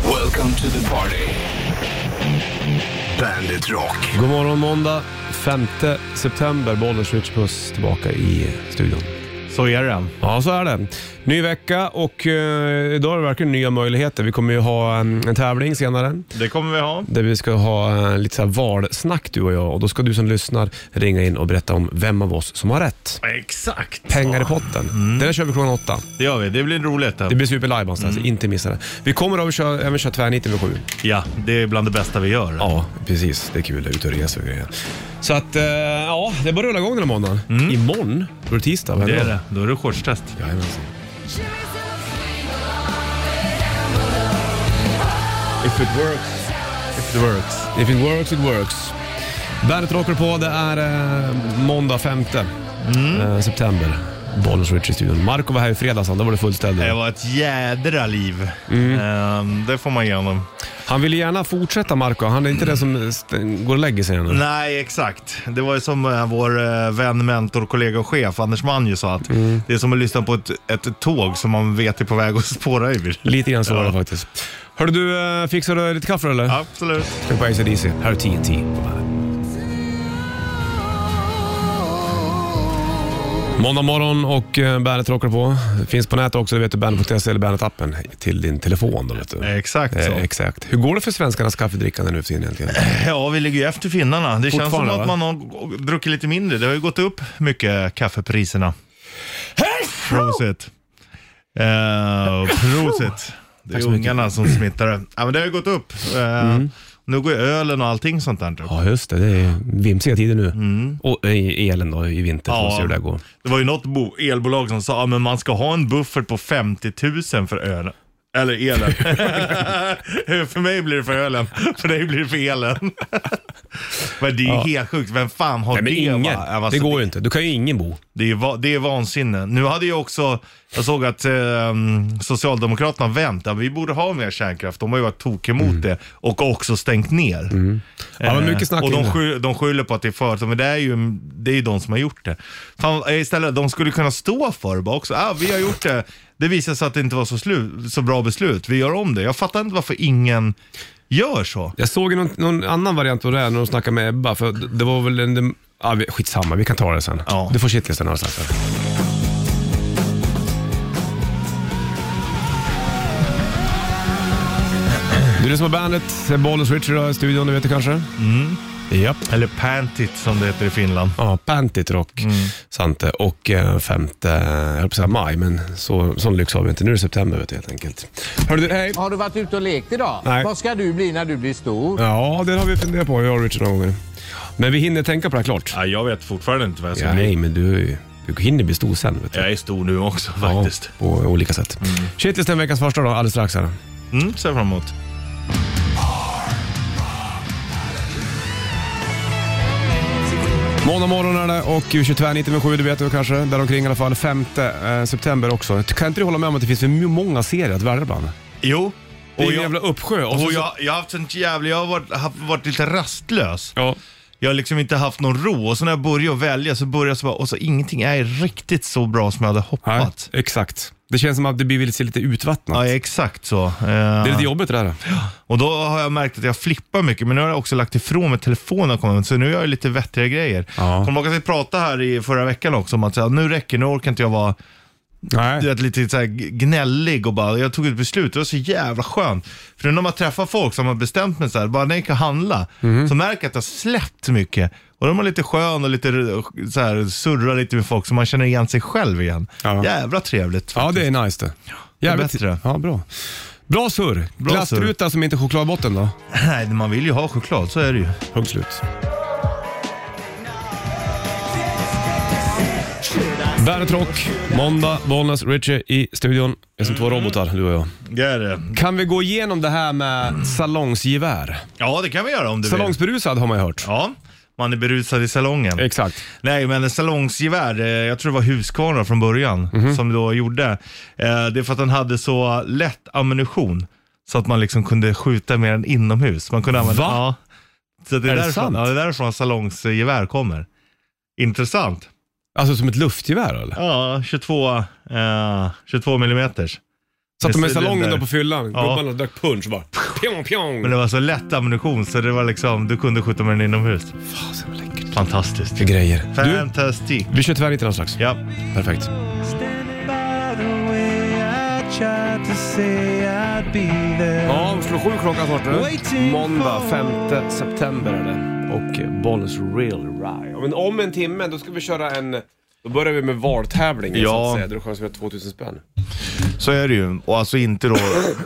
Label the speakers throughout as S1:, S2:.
S1: Welcome to the party. Bandit Rock.
S2: God morgon måndag 5 september. Bollnäs Ritchbuss tillbaka i studion.
S3: Så är det.
S2: Ja, så är det. Ny vecka och eh, idag är det verkligen nya möjligheter. Vi kommer ju ha eh, en, en tävling senare
S3: Det kommer vi ha.
S2: där vi ska ha eh, lite så här valsnack du och jag. Och Då ska du som lyssnar ringa in och berätta om vem av oss som har rätt.
S3: Exakt.
S2: Pengar i potten. Det där kör vi klockan åtta.
S3: Det gör vi. Det blir roligt.
S2: Det blir superlive någonstans, inte missa det. Vi kommer att köra, även köra tvärniten vid sju.
S3: Ja, det är bland det bästa vi gör.
S2: Ja, precis. Det är kul. Ut och resa och grejer. Så att, eh, ja, det är bara att rulla igång den här måndagen. Imorgon, då är det tisdag. Vad
S3: Mm. Det är
S2: händer
S3: det. Då är det shortstest.
S2: då? Jajamensan.
S3: If it works. If it works.
S2: If it works, it works. Bandet rockar på. Det är eh, måndag 5
S3: Mm.
S2: eh, september. Bollnäs Rich i studion. Marco var här i fredags, han. då var det fullständigt.
S3: Det var ett jädra liv. Ehm, det får man igenom.
S2: Han ville gärna fortsätta, Marco. Han är inte den som eh, st- går och lägger sig ännu.
S3: Nej, exakt. Det var ju som eh, vår eh, vän, mentor, kollega och chef Anders Manju sa att det är som att lyssna på ett, ett tåg som man vet är på väg att spåra ur.
S2: Lite grann så var det
S3: Ja.
S2: faktiskt. Hörde du, eh, fixar du lite kaffe eller?
S3: Absolut.
S2: Ska vi på ACDC. Här är TNT på bandet. Måndag morgon och eh, Bandet rockar på. Finns på nätet också, det vet du, bandet.se E eller Bandet-appen till din telefon. Då, vet du.
S3: Exakt Eh. så.
S2: Eh, exakt. Hur går det för svenskarnas kaffedrickande nu för tiden egentligen?
S3: Ja, vi ligger ju efter finnarna. Det känns som
S2: Fortfarande,
S3: att
S2: va?
S3: man har g- druckit lite mindre. Det har ju gått upp mycket kaffepriserna. Prosit. Eh, prosit. Det
S2: Tack
S3: är
S2: så mycket. Mm.
S3: ungarna som smittar det. Ja, men det har ju gått upp. Eh, Nu går ju ölen och allting sånt där upp.
S2: Ja, just det. Det är vimsiga tider nu. Och eh, elen då i vinter, får vi
S3: Mm. Ja.
S2: se hur det går.
S3: Det var ju något bo- elbolag som sa att men man ska ha en buffert på 50 000 för ölen. Eller elen. för mig blir det för ölen, för dig blir det för elen. men det är ju helt sjukt. Vem fan har
S2: Nej, men
S3: det?
S2: ingen.
S3: va? Ja,
S2: det
S3: alltså,
S2: går ju inte. Du kan ju ingen bo.
S3: Det är, va- det är vansinne. Nu hade jag också, jag såg att ehm, Socialdemokraterna har vänt. Ja, vi borde ha mer kärnkraft. De har ju varit tok emot det och också stängt ner.
S2: Mm. Ja, men mycket
S3: Eh,
S2: snack
S3: och de,
S2: innan.
S3: skyller, de skyller på att det är företag, men det är ju det är ju de som har gjort det. Fan, eh, istället, de skulle kunna stå för det bara också. Ah, vi har gjort det. Det visade sig att det inte var så, slu, så bra beslut. Vi gör om det. Jag fattar inte varför ingen gör så.
S2: Jag såg ju någon, någon annan variant på det här när de snackade med Ebba, för d- det var väl en... dem- Ah, vi- skitsamma, vi kan ta det sen.
S3: Ja.
S2: Du får shitlisten någonstans. Sen. Du lyssnar på bandet, Bollnäs Richard i studion, du vet det kanske? Mm. Japp.
S3: Eller pantit som det heter i Finland.
S2: Ja, Pantit Rock, Sante. Och eh, femte, jag höll på att säga maj, men så, sån lyx har vi inte. Nu är det september vet du, helt enkelt. Hörru du, hej!
S4: Har du varit ute och lekt idag?
S2: Nej.
S4: Vad ska du bli när du blir stor?
S2: Ja, det har vi funderat på, jag och Richard några gånger. Men vi hinner tänka på det här klart.
S3: Ja, jag vet fortfarande inte vad jag
S2: Ja, nej, men du, är ju- du hinner bli stor sen. Vet du.
S3: Jag är stor nu också
S2: Ja,
S3: faktiskt.
S2: På olika sätt. Shitlisten veckans första då, alldeles strax här.
S3: Mm, ser jag fram emot.
S2: Måndag morgon är det och U22 97, du vet du kanske, däromkring i alla fall. 5 eh, september också. Kan inte du hålla med om att det finns för många serier att välja bland?
S3: Jo.
S2: Det är
S3: Och
S2: en
S3: jag,
S2: jävla uppsjö. Och så,
S3: och jag, jag har haft sånt jävla... Jag har varit, haft, varit lite rastlös.
S2: Ja.
S3: Jag har liksom inte haft någon ro och så när jag börjar att välja så börjar jag så bara, och så ingenting är riktigt så bra som jag hade
S2: Nej,
S3: hoppats.
S2: exakt. Det känns som att det blir lite utvattnat.
S3: Ja, exakt så. Eh,
S2: Det är lite jobbigt det där.
S3: och då har jag märkt att jag flippar mycket, men nu har jag också lagt ifrån mig telefonen, kommer jag ihåg, så nu gör jag lite vettiga grejer.
S2: Ja.
S3: Kommer ihåg att vi pratade här i förra veckan också om att så här, nu räcker nu orkar inte jag vara du
S2: Nej.
S3: vet, lite så här gnällig och bara, jag tog ett beslut, det var så jävla skönt. För nu när man träffar folk som har bestämt mig så här, bara när jag gick och handla, så märker jag att jag har släppt mycket. Och de är lite skön och lite så här, surrar lite med folk så man känner igen sig själv igen.
S2: Ja.
S3: Jävla trevligt.
S2: Ja, det är nice det. Jävligt.
S3: bättre.
S2: Ja, bra. Bra surr.
S3: Bra
S2: Glasstruta som inte är chokladbotten då?
S3: Nej, man vill ju ha choklad, så är det ju.
S2: Punkt slut. Bandet Rock, måndag, Bollnäs, Richie i studion. Vi är som två
S3: Mm.
S2: robotar, du och jag.
S3: Det är det.
S2: Kan vi gå igenom det här med salongsgevär?
S3: Ja, Mm. det kan vi göra om du vill.
S2: Salongsberusad har man ju hört.
S3: Ja, man är berusad i salongen.
S2: Exakt.
S3: Nej, men salongsgevär, eh, jag tror det var Husqvarna från början som då gjorde. Eh, Det är för att den hade så lätt ammunition så att man liksom kunde skjuta med den inomhus. Man kunde använda,
S2: Va?
S3: Ja. Så det är,
S2: Är det
S3: därifrån,
S2: sant?
S3: Ja, det är därifrån salongsgevär kommer. Intressant.
S2: Alltså som ett luftgevär eller?
S3: Ja, 22, eh, 22 millimeters.
S2: Satt de i
S3: Precis, den
S2: salongen
S3: där.
S2: då på fyllan,
S3: Ja.
S2: gubbarna drack punch bara. pjong, pjong.
S3: Men det var så lätt ammunition så det var liksom, du kunde skjuta med den inomhus.
S2: Fasen vad läckert.
S3: Fantastiskt.
S2: Vilka grejer. Du,
S3: Fantastik.
S2: vi kör tvärnit alldeles strax.
S3: Ja.
S2: Perfekt. Ja, slår sju klockan snart nu. Måndag 5 september är det. Och Bollens Real Rye. Men om en timme, då ska vi köra en... Då börjar vi med valtävlingen så att
S3: Ja.
S2: säga. Där du chansar att 2000 spänn.
S3: Så är det ju. Och alltså inte då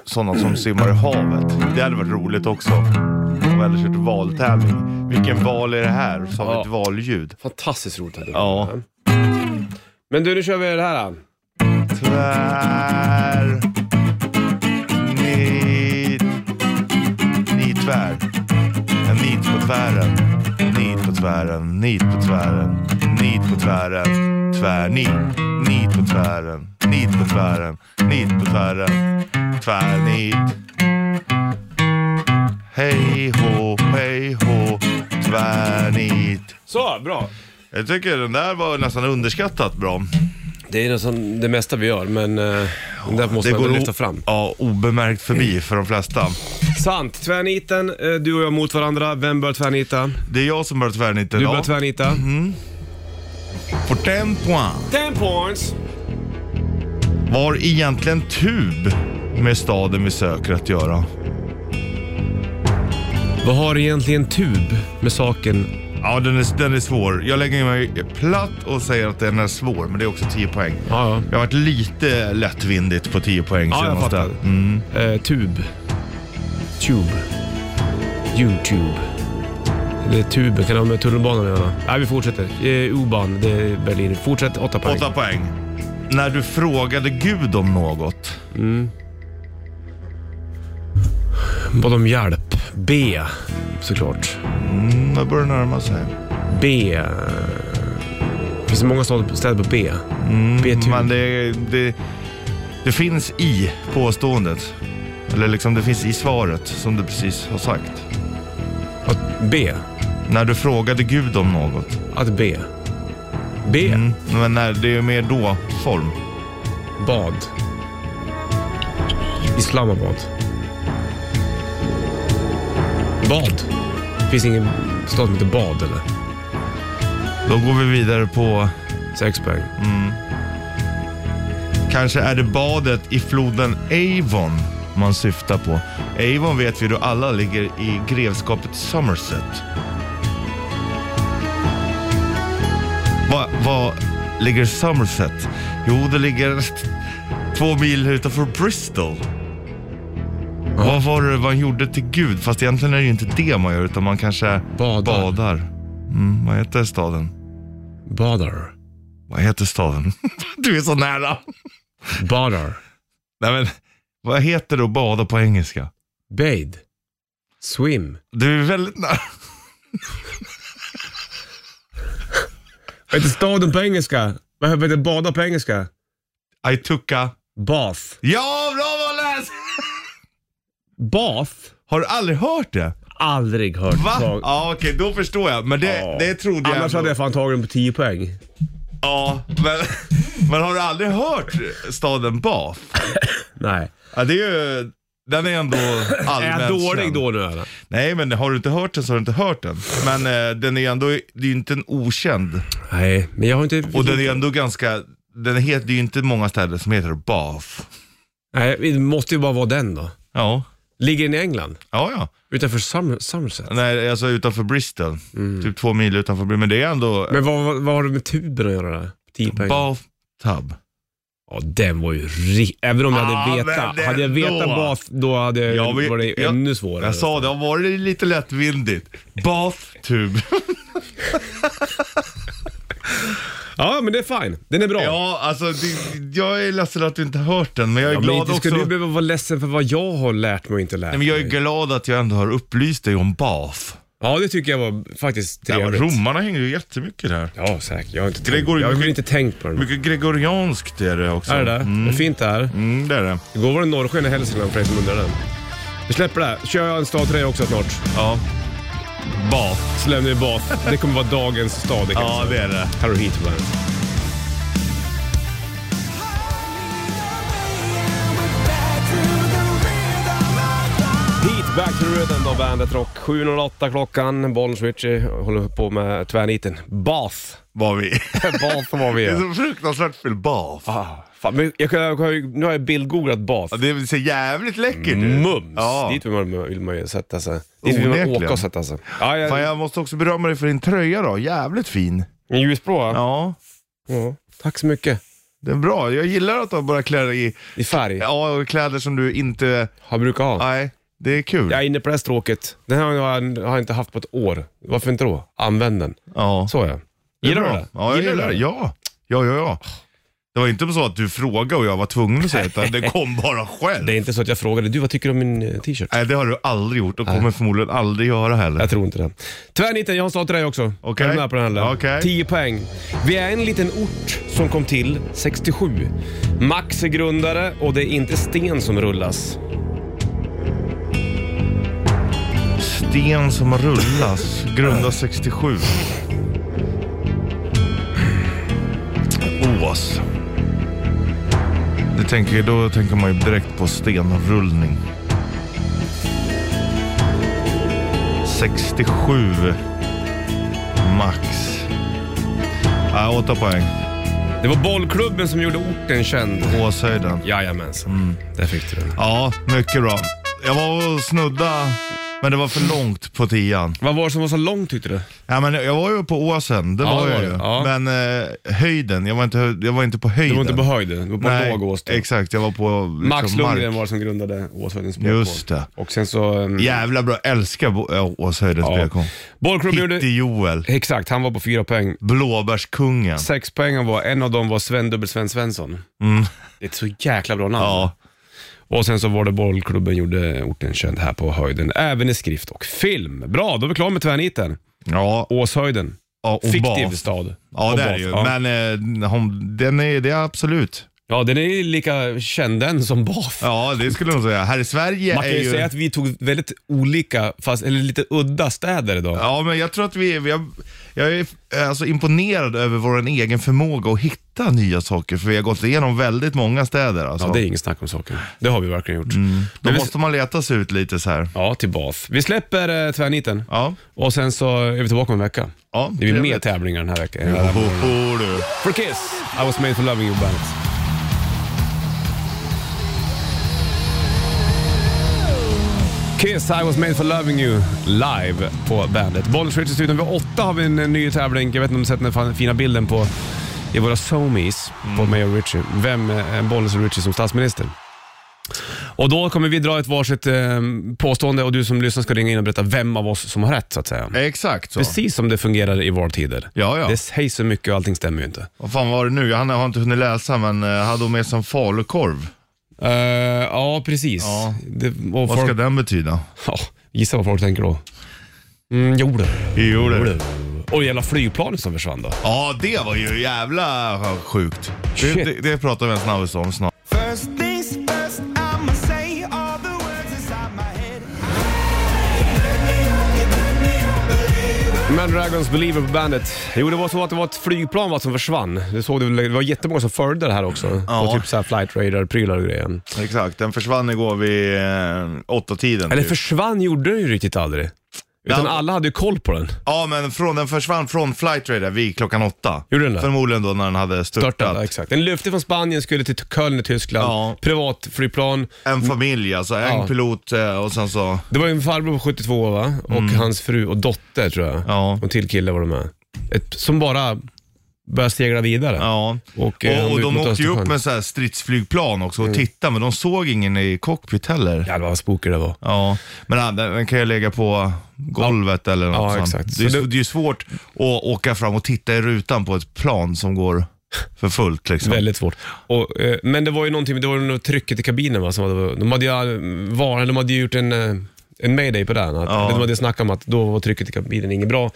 S3: sådana som simmar i havet. Det hade varit roligt också. Om vi hade kört valtävling. Vilken val är det här? Så har vi
S2: Ja.
S3: ett valljud.
S2: Fantastiskt roligt hade det
S3: Ja.
S2: varit. Men du, nu kör vi det här. då.
S3: Tvär. Nit. Nit tvär. En nit på tvären. Nit på tvären. Nit på tvären. Nit på tvären. Tvärnit. Nit på tvären. Nit på tvären. Nit på tvären. Tvärnit. Hej hå, hej hå. Tvärnit.
S2: Så, bra.
S3: Jag tycker den där var nästan underskattat bra.
S2: Det är nästan det mesta vi gör, men eh, den där måste man ändå
S3: o-
S2: lyfta fram.
S3: Ja, obemärkt förbi för de flesta.
S2: Sant. Tvärniten, eh, du och jag mot varandra. Vem bör tvärnita?
S3: Det är jag som börjar tvärnita
S2: Du
S3: idag.
S2: bör tvärnita.
S3: På Mm-hmm. ten point
S2: 10 points!
S3: var egentligen Tub med staden vi söker att göra?
S2: Vad har egentligen tub med saken?
S3: Ja, den är, den är svår. Jag lägger mig platt och säger att den är svår, men det är också 10 poäng.
S2: Ja, ja.
S3: Jag har varit lite lättvindigt på 10 poäng
S2: Ja, jag
S3: senast
S2: fattar.
S3: där. Mm.
S2: Eh, tub. Tube. Youtube. Det är tuben, kan det ha med tunnelbanan att göra? Nej, vi fortsätter. Eh, U-ban, det är Berlin. Fortsätt, åtta poäng.
S3: 8 poäng. När du frågade Gud om något.
S2: Vad om hjälp? B, såklart.
S3: Mm, det börjar närma sig.
S2: B. eh, Finns det många stad- städer på B? B-tub.
S3: Mm, Men det, det, det finns i påståendet. Eller liksom det finns i svaret som du precis har sagt.
S2: Att B.
S3: När du frågade Gud om något.
S2: Att B. B.
S3: Mm. Men när, det är ju mer då-form.
S2: Bad. Islamabad. Bad. Finns ingen stad som heter Bad eller?
S3: Då går vi vidare på,
S2: Sex poäng.
S3: kanske är det badet i floden Avon man syftar på. Avon vet vi då alla ligger i grevskapet Somerset. Vad va ligger Somerset? Jo, det ligger två mil utanför Bristol. Vad var det man gjorde till Gud? Fast egentligen är det ju inte det man gör utan man kanske
S2: Badar.
S3: badar. Mm, vad heter staden?
S2: Badar.
S3: Vad heter staden? Du är så nära.
S2: Badar.
S3: Nej men, vad heter det att bada på engelska?
S2: Bade. Swim.
S3: Du är väldigt nära.
S2: Vad heter staden på engelska? Vad heter bada på engelska?
S3: I took a...
S2: Bath.
S3: Ja, bra Wallace!
S2: Bath?
S3: Har du aldrig hört det?
S2: Aldrig hört
S3: Va?
S2: tag-
S3: Ja, okej, då förstår jag. Men det,
S2: Ja.
S3: det trodde jag
S2: Annars
S3: ändå.
S2: hade jag fan tagit den på 10 poäng.
S3: Ja, men, men har du aldrig hört staden Bath?
S2: Nej.
S3: Ja, det är ju... Den är ändå allmänt
S2: Är jag dålig
S3: känd.
S2: då nu eller?
S3: Nej, men har du inte hört den så har du inte hört den. Men eh, den är ändå, det är ju inte en okänd.
S2: Nej, men jag har inte...
S3: Och den är ändå ganska, den heter, det är ju inte många städer som heter Bath.
S2: Nej, det måste ju bara vara den då.
S3: Ja,
S2: Ligger den i England?
S3: ja, ja.
S2: Utanför Som- Somerset?
S3: Nej, alltså utanför Bristol.
S2: Mm.
S3: Typ två mil utanför Bristol. Men det är ändå
S2: Men vad, vad, vad har det med tuben att göra? där? 10 poäng?
S3: bathtub.
S2: Ja, den var ju ri... Även om jag hade
S3: Ah, men
S2: vetat.
S3: den
S2: Hade jag vetat
S3: då.
S2: bath, då hade jag,
S3: Ja, men-
S2: var det
S3: jag-
S2: ännu svårare.
S3: Jag sa det, har varit lite lättvindigt. Bathtub.
S2: Ja, men det är fine. Den är bra.
S3: ja, alltså det, jag är ledsen att du inte har hört den, men jag är
S2: Ja, men
S3: glad
S2: inte
S3: också.
S2: ska du behöva vara ledsen för vad jag har lärt mig och inte lärt
S3: Nej, men jag är
S2: mig.
S3: glad att jag ändå har upplyst dig om bath.
S2: Ja, det tycker jag var faktiskt
S3: Ja,
S2: trevligt.
S3: romarna hänger ju jättemycket där.
S2: Ja, säkert. Jag har inte tänkt,
S3: Gregory-
S2: jag har inte tänkt på den.
S3: Mycket gregorianskt är det också.
S2: Är det det? Det är fint det här.
S3: Mm, det är det.
S2: Igår var det norrsken i Hälsingland för er som undrar den. Vi släpper det. här. Kör jag en stad till dig också snart.
S3: Ja. Bath.
S2: Så lämnar vi Bath. Det kommer vara dagens stad. det kan jag
S3: Ja,
S2: säga.
S3: det är det.
S2: Här har du Heat på bandet. Heat Back to the rhythm då, bandet rock. 7.08 klockan, Bollnäs Ritchie håller på med tvärniten. Bath.
S3: Var vi.
S2: Bath var vi
S3: Det är
S2: är.
S3: så fruktansvärt fel bas.
S2: Ah, fan, men jag, kan- jag, har ju- nu har jag bildgooglat Bath.
S3: Ja, Det ser jävligt läckert ut.
S2: Mums!
S3: Ja.
S2: Dit vill man, vill man ju sätta sig. Dit vill man
S3: Onekligen.
S2: åka och sätta sig. Ja,
S3: Fan,
S2: jag,
S3: jag måste också berömma dig för din tröja då. Jävligt fin.
S2: en ljusblå va?
S3: Ja,
S2: Ja. Tack så mycket.
S3: det är bra. Jag gillar att du har börjat klä dig i
S2: I färg.
S3: ja, och kläder som du inte...
S2: Jag brukar ha.
S3: Nej, det är kul.
S2: Jag är inne på det här stråket. Den här har jag, har jag inte haft på ett år. Varför inte då? Använd den.
S3: Ja.
S2: Så ja.
S3: är
S2: Gillar du
S3: bra.
S2: det?
S3: Ja, jag gillar det. Ja. ja, ja, ja. Det var inte så att du frågade och jag var tvungen att säga utan det kom bara själv.
S2: Det är inte så att jag frågade, du vad tycker du om min eh, t-shirt?
S3: Nej, det har du aldrig gjort och kommer förmodligen aldrig göra heller.
S2: Jag tror inte det. Tvärniten, jag har en slag till dig också.
S3: Okej.
S2: Är du med på den här?
S3: Okej.
S2: 10 poäng. Vi är en liten ort som kom till 67. Max är grundare och det är inte sten som rullas.
S3: Sten som rullas, grunda 67. Ås. Det tänker, då tänker man ju direkt på stenrullning. 67 max. Ja, åtta poäng.
S2: Det var bollklubben som gjorde orten känd.
S3: Åshöjden.
S2: Jajamensan. Där fick du den.
S3: Ja, mycket bra. Jag var och snudda, men det var för långt på tian.
S2: Vad var det som var så långt tyckte du?
S3: Ja, men jag var ju på åsen, det
S2: Ja,
S3: var
S2: det
S3: jag
S2: var
S3: ju.
S2: du. Ja.
S3: Men eh, höjden, jag var, inte, hö- jag var inte på höjden.
S2: Du var inte på höjden, du var på låg ås. då.
S3: exakt. Jag var på liksom,
S2: Max Lundgren
S3: mark.
S2: var det som grundade Åshöjdens BK.
S3: Just det.
S2: Och sen så... ehm,
S3: Jävla bra, älskar Bo- ja, Åshöjdens
S2: ja.
S3: BK.
S2: Bollklubben gjorde...
S3: Pitti-Joel,
S2: Exakt, han var på fyra poäng.
S3: Blåbärskungen.
S2: Sex poäng han var, en av dem var Sven Dubbel Sven Svensson. Det är ett så jäkla bra namn.
S3: Ja,
S2: Och sen så var det bollklubben gjorde orten känd här på höjden, även i skrift och film. Bra, då är vi klara med tvärniten.
S3: ja,
S2: Åshöjden,
S3: ja och
S2: fiktiv
S3: bas.
S2: stad.
S3: Ja,
S2: Och
S3: det är
S2: bas,
S3: det ju.
S2: Ja.
S3: Men eh, hon, den är, det är absolut.
S2: ja, den är ju lika känd den som Bath.
S3: Ja, det skulle jag nog säga. Här i Sverige
S2: Man kan
S3: är
S2: ju
S3: ju...
S2: säga att vi tog väldigt olika, fast, eller lite udda städer idag.
S3: Ja, men jag tror att vi, vi har, jag är eh, alltså imponerad över vår egen förmåga att hitta nya saker, för vi har gått igenom väldigt många städer. Alltså.
S2: Ja, det är inget snack om saken. Det har vi verkligen gjort.
S3: Då
S2: Men vi,
S3: Mm. måste man leta sig ut lite så här.
S2: ja, till Bath. Vi släpper eh, tvärniten
S3: Ja.
S2: och sen så är vi tillbaka om en vecka.
S3: Ja,
S2: det blir mer
S3: trevligt.
S2: tävlingar den här veckan.
S3: Oh, du.
S2: For Kiss, I was made for loving you bandet. Kiss, I was made for loving you live på bandet. Bollnäs Ritchie studion. Vid åtta har vi en eh, ny tävling. Jag vet inte om du sett den fan- fina bilden på i våra somies på mig och Richie. Vem är Bollnäs och Richie som statsminister? Och då kommer vi dra ett varsitt eh, påstående och du som lyssnar ska ringa in och berätta vem av oss som har rätt så att säga.
S3: Exakt så.
S2: Precis som det fungerar i valtider.
S3: Ja, ja.
S2: Det sägs så mycket och allting stämmer ju inte.
S3: Vad fan var det nu? Jag hann- har inte hunnit läsa, men eh, hade hon med sig en falukorv?
S2: Eh, ja, precis.
S3: Ja.
S2: Det, och
S3: Vad
S2: folk,
S3: ska den betyda?
S2: ja, gissa vad folk tänker då. Mm, jo du.
S3: Jo, du.
S2: Och jävla flygplanet som försvann då.
S3: Ja, det var ju jävla eh, sjukt. Det,
S2: Shit.
S3: det, det pratar vi en snabbis om snart.
S1: First things first, I'ma say all the words inside my head.
S2: Men Dragons Believer på bandet. Jo, det var så att det var ett flygplan va, som försvann. Det såg du väl? Det var jättemånga som följde det här också.
S3: Ja.
S2: Och typ så här flight radar-prylar och grejer.
S3: Exakt, den försvann igår vid eh, åtta tiden.
S2: Eller försvann gjorde den ju riktigt aldrig. Utan
S3: Ja.
S2: alla hade ju koll på den.
S3: Ja, men från, den försvann från Flight Radar vid klockan åtta.
S2: Gjorde den det?
S3: Förmodligen då när den hade störtat.
S2: Störtade, exakt. Den lyfte från Spanien, skulle till Köln i Tyskland.
S3: Ja.
S2: Privatflygplan.
S3: En familj alltså, en
S2: Mm. Ja.
S3: pilot eh, och sen så...
S2: Det var ju en farbror på 72 va? Och hans fru och dotter tror jag.
S3: Mm. Ja.
S2: Och en till kille var de med. Ett, som bara började segla vidare.
S3: Ja.
S2: Och,
S3: Och,
S2: eh, han
S3: och,
S2: var ut
S3: de
S2: mot
S3: åkte ju
S2: Östersjön.
S3: upp
S2: Mm.
S3: med så här stridsflygplan också och tittade, men de såg ingen i cockpit heller. Ja,
S2: Jävlar vad spooky det var.
S3: men ja, den, den kan jag lägga på golvet eller något
S2: Ja,
S3: sånt.
S2: exakt.
S3: Det, är,
S2: Så
S3: ju-
S2: det-
S3: det är ju svårt att åka fram och titta i rutan på ett plan som går för fullt liksom.
S2: Väldigt svårt. Och, eh, men det var ju någonting, det var ju något trycket i kabinen va? Som hade, de, hade ju, eh, var, de hade ju gjort en, eh, en mayday på den. Att,
S3: Ja.
S2: De hade snackat om att då var trycket i kabinen inget bra.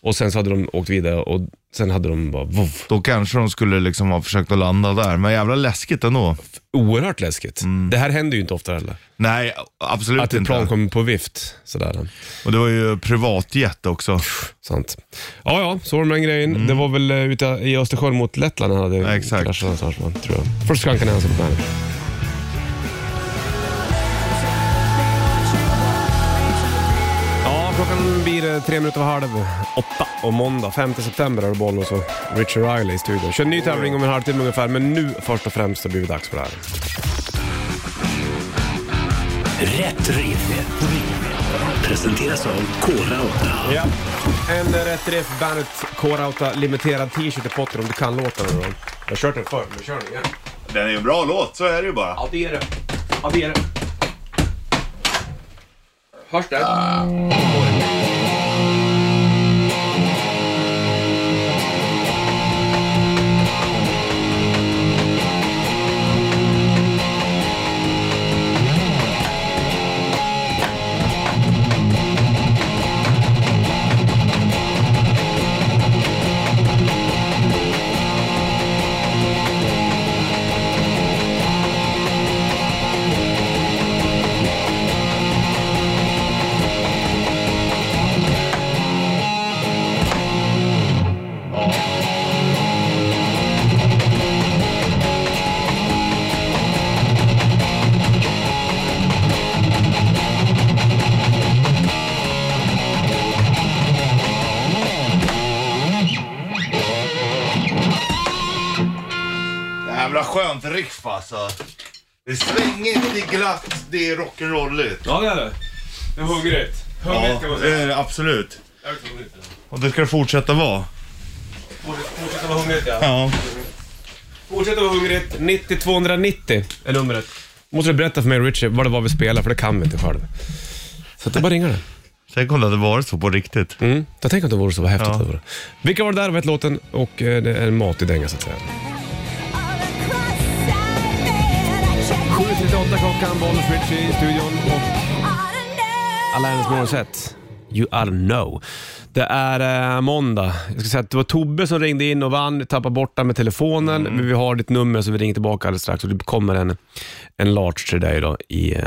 S2: Och sen så hade de åkt vidare och sen hade de bara vov.
S3: Då kanske de skulle liksom ha försökt att landa där, men jävla läskigt ändå.
S2: Oerhört läskigt. Det här händer ju inte ofta heller.
S3: Nej, absolut
S2: Att ett
S3: Mm. inte.
S2: plan kommer på vift. Sådär.
S3: Och det var ju privatjet också.
S2: Sant. Ja, ja, så var det med den grejen. Det var väl eh, ute i Östersjön mot Lettland han hade
S3: Ja, exakt.
S2: kraschat någonstans, va? tror jag. Först skankade han sig på bandet. blir eh, tre minuter över halv åtta och måndag 5 september har du bollen och så Richard Riley i studion. Kör en ny tävling om en halvtimme ungefär, men nu först och främst så blir det dags för det här.
S5: Rätt riff. Presenteras av Kora 8.
S2: Ja. En eh, rätt riff, bandet K-Rauta limiterad t-shirt i potten om du kan låten. då. Jag har kört den förr, men kör den igen.
S3: Den är ju en bra låt, så är det ju bara.
S2: Ja, det är det. Ja, det är det. Hörs det?
S3: Jävla skönt riff alltså. Det är svängigt, det är glatt, det är rock'n'rolligt.
S2: Ja, det är det. Det är hungrigt. Hungrigt kan
S3: Ja,
S2: man
S3: det
S2: säga.
S3: är det absolut.
S2: Jag vet inte vad hungrigt är.
S3: Och det ska det fortsätta vara.
S2: Fortsätt- Fortsätt vara hungrigt, ja.
S3: Ja.
S2: Fortsätt vara hungrigt. 90-290 är numret. Måste du berätta för mig Richard vad det var vi spelade, för det kan vi inte själv. Så att det bara ringer det.
S3: Tänk om det hade varit så på riktigt.
S2: Mm. Jag tänker att det vore så, vad häftigt
S3: Ja.
S2: det vore. Vilka var det där, vet låten och eh, det är en mat i dänga så att säga. 7.38 klockan, Bollnäs Richie i studion och Alanis Morissette. You are no. Det är eh, måndag. Jag ska säga att det var Tobbe som ringde in och vann. Tappade bort den med telefonen. Men vi har ditt nummer så vi ringer tillbaka alldeles strax. Och det kommer en, en large till dig då i eh,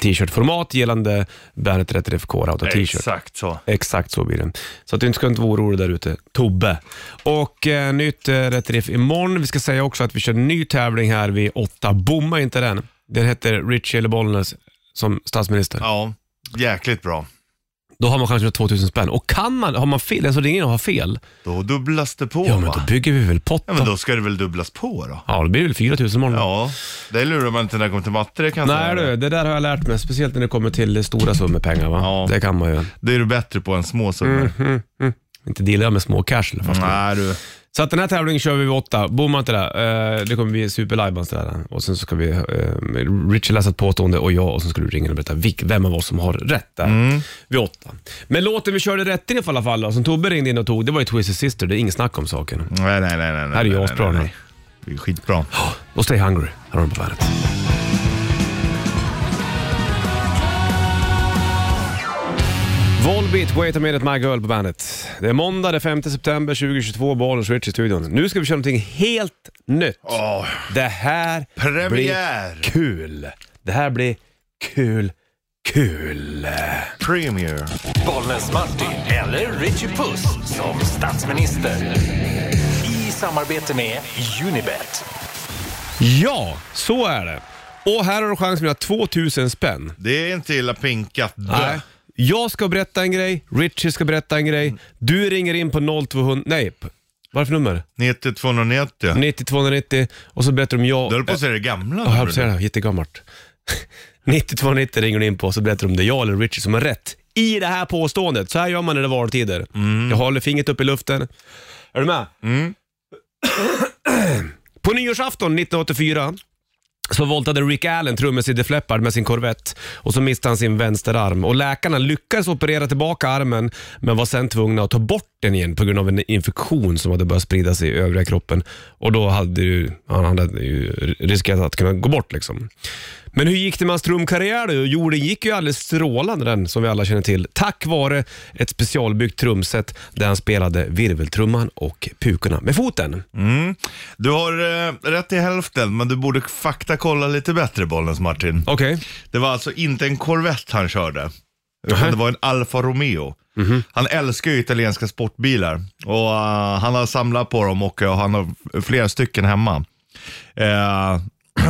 S2: t-shirt-format gällande bandet Rätt Riff K-Rauta t-shirt.
S3: Exakt så.
S2: Exakt så blir det. Så att du inte ska inte vara orolig där ute, Tobbe. Och eh, nytt eh, Rätt Riff imorgon. Vi ska säga också att vi kör en ny tävling här vid åtta. Bomma inte den. Den heter Richie eller Bollnäs som statsminister.
S3: Ja, jäkligt bra.
S2: Då har man chansen att 2000 spänn. Och kan man, har man fel, den som ringer in och har fel,
S3: Då dubblas det på
S2: ja men
S3: va?
S2: då bygger vi väl
S3: Ja
S2: potten.
S3: men då ska det väl dubblas på då?
S2: Ja, då blir det väl 4000 imorgon.
S3: Ja, det lurar man inte när det kommer till matte det kan jag
S2: Nej
S3: säga.
S2: du, det där har jag lärt mig. Speciellt när det kommer till stora summor pengar va?
S3: Ja.
S2: Det kan man ju.
S3: Det är du bättre på än små summor.
S2: Mm. Inte dealar jag med små cash i alla fall.
S3: Nej du.
S2: Så att den här tävlingen kör vi vid åtta. Bommar inte där. Eh, Det kommer bli superlivebands där. Och sen så ska vi, eh, Richard läsa ett påstående och jag och sen ska du ringa och berätta vilk- vem av oss som har rätt där.
S3: Mm.
S2: Vid åtta. Men låten vi körde rätt i alla fall då, som Tobbe ringde in och tog, det var ju Twisted Sister. Det är inget snack om saken.
S3: Nej, nej, nej. nej, nej
S2: Här är ju
S3: nej,
S2: asbra
S3: nej,
S2: den.
S3: nej. Det är skitbra.
S2: Och Stay Hungry har de på bandet. Volbeat, Wait a minute my girl på bandet. Det är måndag den 5 september 2022, Bollnäs Rich i studion. Nu ska vi köra någonting helt nytt.
S3: Åh,
S2: Det här
S3: Premiär.
S2: blir kul. Det här blir kul, kul.
S3: premier.
S5: Bollnäs Martin eller Richie Puss som statsminister. I samarbete med Unibet.
S2: Ja, så är det. Och här har du chans att vinna 2000 spänn.
S3: Det är inte illa pinkat.
S2: Nej. Jag ska berätta en grej, Richie ska berätta en grej. Du ringer in på 0200, nej, p- vad är det för nummer?
S3: 90 290.
S2: 90290 och så berättar du om jag...
S3: Du höll på att säga det gamla.
S2: Ja,
S3: hörde
S2: jag
S3: du.
S2: ser det, jättegammalt. 9290 ringer du in på och så berättar du om det är jag eller Richie som har rätt i det här påståendet. Så här gör man när det är valtider.
S3: Mm.
S2: Jag håller fingret upp i luften. Är du med? På nyårsafton 1984 så voltade Rick Allen, trummis i The Fleppard, med sin Corvette och så miste han sin vänsterarm. Och läkarna lyckades operera tillbaka armen men var sen tvungna att ta bort den igen på grund av en infektion som hade börjat sprida sig i övriga kroppen. Och då hade ju, han hade ju riskerat att kunna gå bort liksom. Men hur gick det med hans trumkarriär då? Jo, det gick ju alldeles strålande den, som vi alla känner till. Tack vare ett specialbyggt trumset där han spelade virveltrumman och pukorna med foten.
S3: Mm. Du har eh, rätt i hälften, men du borde faktakolla lite bättre Bollens Martin.
S2: Okej.
S3: Det var alltså inte en Corvette han körde. Utan
S2: Nähä.
S3: det var en Alfa Romeo. Han älskar ju italienska sportbilar. Och eh, han har samlat på dem och eh, han har flera stycken hemma. Eh,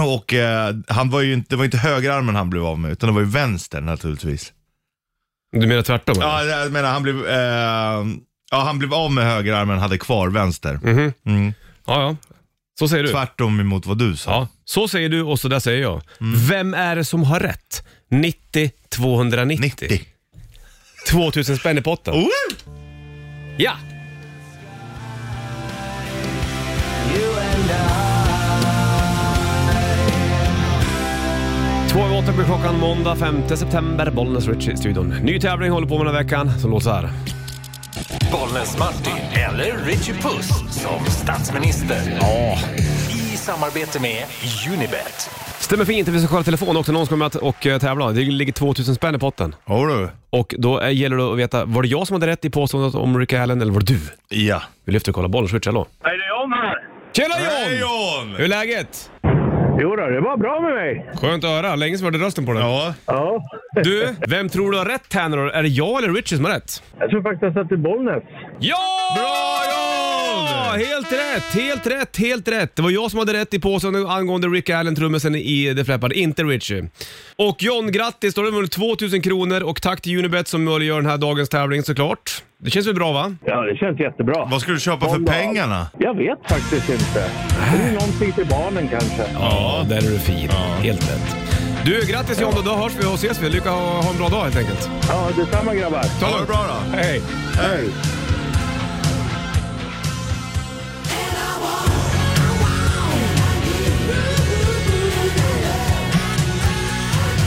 S3: och eh, han var ju inte, det var inte högerarmen han blev av med, utan det var ju vänster naturligtvis.
S2: Du menar tvärtom? eller?
S3: Ja, jag menar han blev, eh, ja, han blev av med högerarmen, hade kvar vänster.
S2: ja, ja. Så säger du.
S3: Tvärtom emot vad du sa.
S2: Ja, så säger du och så där säger jag. Vem är det som har rätt? 90 290.
S3: 90.
S2: 2000 spänn i potten.
S3: Oh!
S2: Ja! Två över åtta blir klockan måndag 5 september. Bollnäs Rich i studion. Ny tävling håller på med den här veckan som låter så här.
S5: Bollnäs Martin eller Richie Puss som statsminister. Ja. I samarbete med Unibet.
S2: Stämmer fint, vi ska kolla telefon också. Någon ska med och eh, tävla. Det ligger 2000 spänn i potten.
S3: Har du?
S2: Och då eh, gäller det att veta, var det jag som hade rätt i påståendet om Ricky Allen eller var det du?
S3: Ja.
S2: Vi lyfter och kollar bollen, switch, hallå.
S6: Är det John här?
S2: Tjena John!
S3: Hej John!
S2: Hur är läget?
S6: Jo då, det var bra med mig.
S2: Skönt att höra, länge sedan vi hörde rösten på dig.
S3: Ja,
S6: Ja.
S2: Du, vem tror du har rätt här nu då? Är det jag eller Richie som har rätt?
S6: Jag tror faktiskt att jag satt i Bollnäs.
S2: Ja! Bra John! Helt rätt, helt rätt, helt rätt. Det var jag som hade rätt i påsen angående Rick Allen, trummisen i The Flappard, inte Richie. Och John, grattis! Då har du vunnit 2000 kronor och tack till Unibet som möjliggör den här dagens tävling såklart. Det känns väl bra va?
S6: Ja, det känns jättebra.
S3: vad ska du köpa för
S6: Måndag.
S3: pengarna?
S6: Jag vet faktiskt inte. Det är någonting till barnen kanske.
S2: Ja, där är du fin. Helt rätt. Du, grattis John och då hörs vi och ses vi. Lycka och ha en bra dag helt enkelt.
S6: Ja, detsamma grabbar.
S2: Ta
S3: Ha det bra då.
S2: Hej!
S6: Hej.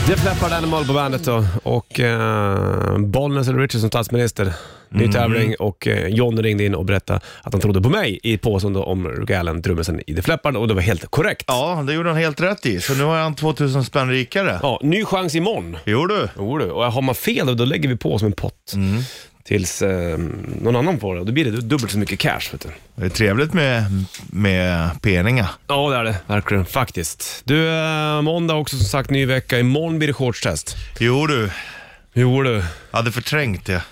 S2: Def Leppard Animal på bandet då. Och eh, Bollnäs eller Richard som statsminister. Ny tävling och eh, John ringde in och berättade att han trodde på mig i påsen då om Rick Allen, trummisen i Def Leppard och det var helt korrekt.
S3: Ja, det gjorde han helt rätt i. Så nu har han 2000 spänn rikare.
S2: Ja, ny chans imorgon.
S3: Jo du.
S2: Jo du, och har man fel då lägger vi på som en pott. Tills eh, någon annan får det. Då blir det dubbelt så mycket cash. Vet du.
S3: Det är trevligt med, med peningar.
S2: Ja, det är det. Verkligen. Faktiskt. Du, eh, måndag också som sagt, ny vecka. Imorgon blir det shortstest.
S3: Jo du,
S2: Jo du.
S3: jag hade förträngt det.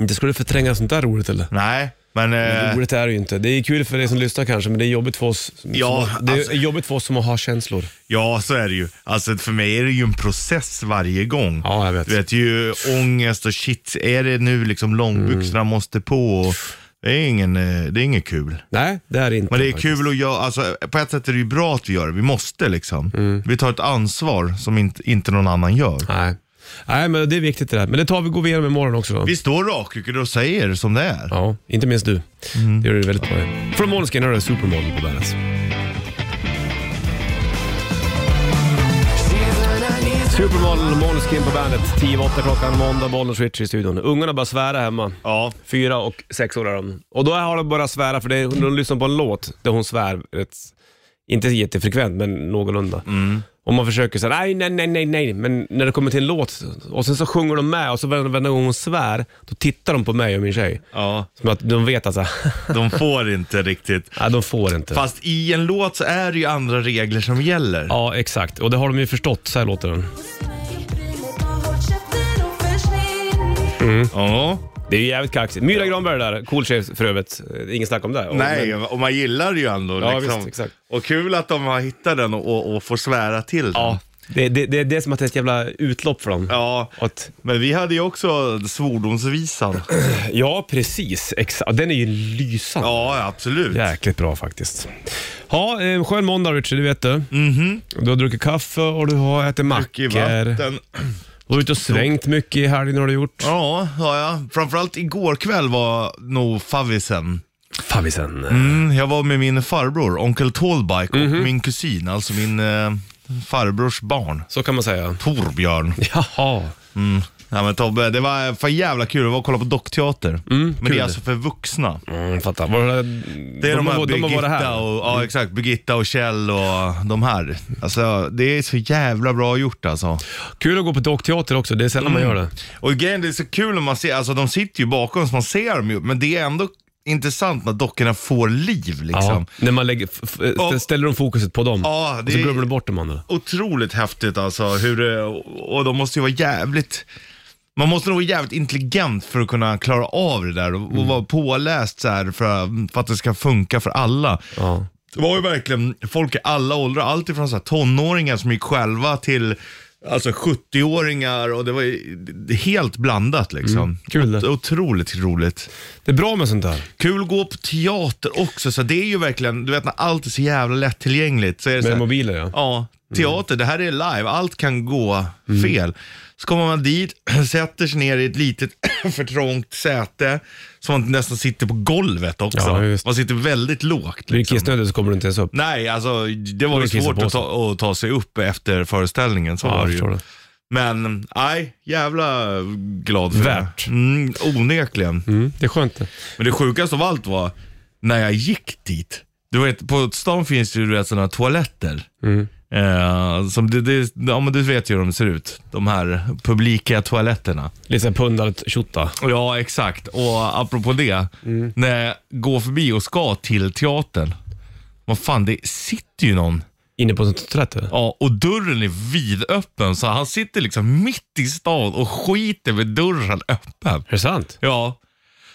S2: Inte ska du förtränga sånt där roligt eller?
S3: Nej, men... Eh,
S2: Roligt är det ju inte. Det är kul för dig som lyssnar kanske, men det är jobbigt för oss,
S3: Ja,
S2: som, det är
S3: alltså-
S2: jobbigt för oss som har känslor.
S3: Ja, så är det ju. Alltså för mig är det ju en process varje gång.
S2: Ja, jag vet.
S3: Du vet ju ångest och shit, är det nu liksom långbyxorna måste på? Och det, är ingen, eh, det är inget kul.
S2: Nej, det är det inte.
S3: Men det är
S2: faktiskt.
S3: kul att göra, alltså på ett sätt är det ju bra att vi gör det. Vi måste liksom. Vi tar ett ansvar som inte, inte någon annan gör.
S2: Nej. Nej, men det är viktigt det där. Men det tar vi, går vi igenom imorgon också då.
S3: Vi står rakryckade och säger som det är.
S2: Ja, inte minst du. Det gör du väldigt bra. Från Måneskin har du Supermodel på bandet. Supermodel, Måneskin på bandet. 10-8 klockan, måndag, bollen switch i studion. Ungarna bara svära hemma.
S3: Ja.
S2: Fyra och sex år är de. Och då har de börjat svära, för det är, de lyssnar på en låt där hon svär, rätt, inte jättefrekvent, men någorlunda. Och man försöker säga nej, nej, nej, nej, nej, men när det kommer till en låt och sen så sjunger de med och så varje varje gång hon svär, då tittar de på mig och min tjej.
S3: ja,
S2: Som att de vet alltså,
S3: de får inte riktigt.
S2: nej, de får inte.
S3: Fast i en låt så är det ju andra regler som gäller.
S2: Ja, exakt. Och det har de ju förstått, så här låter den.
S3: Ja.
S2: Det är ju jävligt kaxigt. Myra Granberg där, cool tjej för övrigt. Det är Inget snack om det. Och-
S3: Nej,
S2: men-
S3: och man gillar det ju ändå.
S2: Ja,
S3: liksom.
S2: visst, exakt.
S3: Och kul att de har hittat den och, och, och får svära till den.
S2: Ja, det, det, det, det är som att det är ett jävla utlopp för dem.
S3: ja.
S2: Att
S3: Men vi hade ju också svordomsvisan.
S2: Ja, precis. Exakt. Den är ju lysande.
S3: ja, absolut.
S2: Jäkligt bra faktiskt. Ja, eh, skön måndag Richard, det vet du. Du har druckit kaffe och du har ätit
S3: Mhm. Mycket i
S2: mackor.
S3: vatten.
S2: Du har ute och svängt mycket i helgen har du gjort.
S3: Ja, ja, ja. Framförallt igår kväll var nog favisen.
S2: Favisen.
S3: Mm, jag var med min farbror, onkel Tallbike, och
S2: Mhm.
S3: min kusin, alltså min eh, farbrors barn,
S2: Så kan man säga.
S3: Torbjörn.
S2: Jaha.
S3: Ja, men Tobbe, det var för jävla kul. Jag var och kollade på dockteater. men det
S2: Mm, kul.
S3: är alltså för vuxna.
S2: Mm, fattar. Var det,
S3: Det är de,
S2: har-
S3: här
S2: har
S3: Birgitta
S2: varit Mm.
S3: och, ja, exakt, Birgitta och Kjell och de här. Alltså, det är så jävla bra gjort alltså.
S2: Kul att gå på dockteater också, det är sällan
S3: Mm.
S2: man gör det.
S3: Och grejen, det är så kul när man ser, alltså de sitter ju bakom så man ser dem ju, men det är ändå intressant när dockorna får liv liksom.
S2: Ja, när man lägger, f- f-
S3: Och-
S2: ställer de fokuset på dem
S3: Ja,
S2: och
S3: det
S2: så
S3: är-
S2: glömmer du bort de andra.
S3: Otroligt häftigt alltså, hur det, och de måste ju vara jävligt man måste nog vara jävligt intelligent för att kunna klara av det där och, och
S2: Mm.
S3: vara påläst så här för, att- för att det ska funka för alla.
S2: Ja.
S3: Det var ju verkligen folk i alla åldrar, allt ifrån så här tonåringar som gick själva till alltså 70-åringar och det var ju helt blandat liksom.
S2: Mm. kul det.
S3: Otroligt roligt.
S2: Det är bra med sånt där.
S3: Kul att gå på teater också. Så det är ju verkligen, du vet när allt är så jävla lättillgängligt. Så är det så
S2: Med
S3: här,
S2: mobiler ja.
S3: Ja, teater, det här är live. Allt kan gå
S2: Mm.
S3: fel. Så kommer man dit, sätter sig ner i ett litet förtrångt säte. Som man nästan sitter på golvet också.
S2: Ja, just.
S3: man sitter väldigt lågt.
S2: Blir det
S3: Liksom.
S2: kissnödig så kommer du inte ens upp.
S3: Nej, alltså det
S2: Då
S3: var
S2: är det
S3: ju
S2: kissa
S3: svårt
S2: på
S3: att
S2: sig.
S3: ta, att ta sig upp efter föreställningen. Så
S2: Ja,
S3: var
S2: jag
S3: det
S2: förstår
S3: ju.
S2: det.
S3: Men nej, jävla glad för
S2: Värt.
S3: det. Mm, onekligen.
S2: Mm, det är skönt det.
S3: Men det sjukaste av allt var när jag gick dit. Du vet, på stan finns det ju du vet, sådana toaletter. Eh, som det, det, ja, men du vet ju hur de ser ut. De här publika toaletterna.
S2: Lite såhär pundartjotta.
S3: Ja, exakt. Och apropå det, när jag går förbi och ska till teatern. Vad fan, det sitter ju någon.
S2: Inne på ett toalett eller?
S3: Ja, och dörren är vidöppen. Så han sitter liksom mitt i stan och skiter med dörren öppen.
S2: Är det sant?
S3: Ja.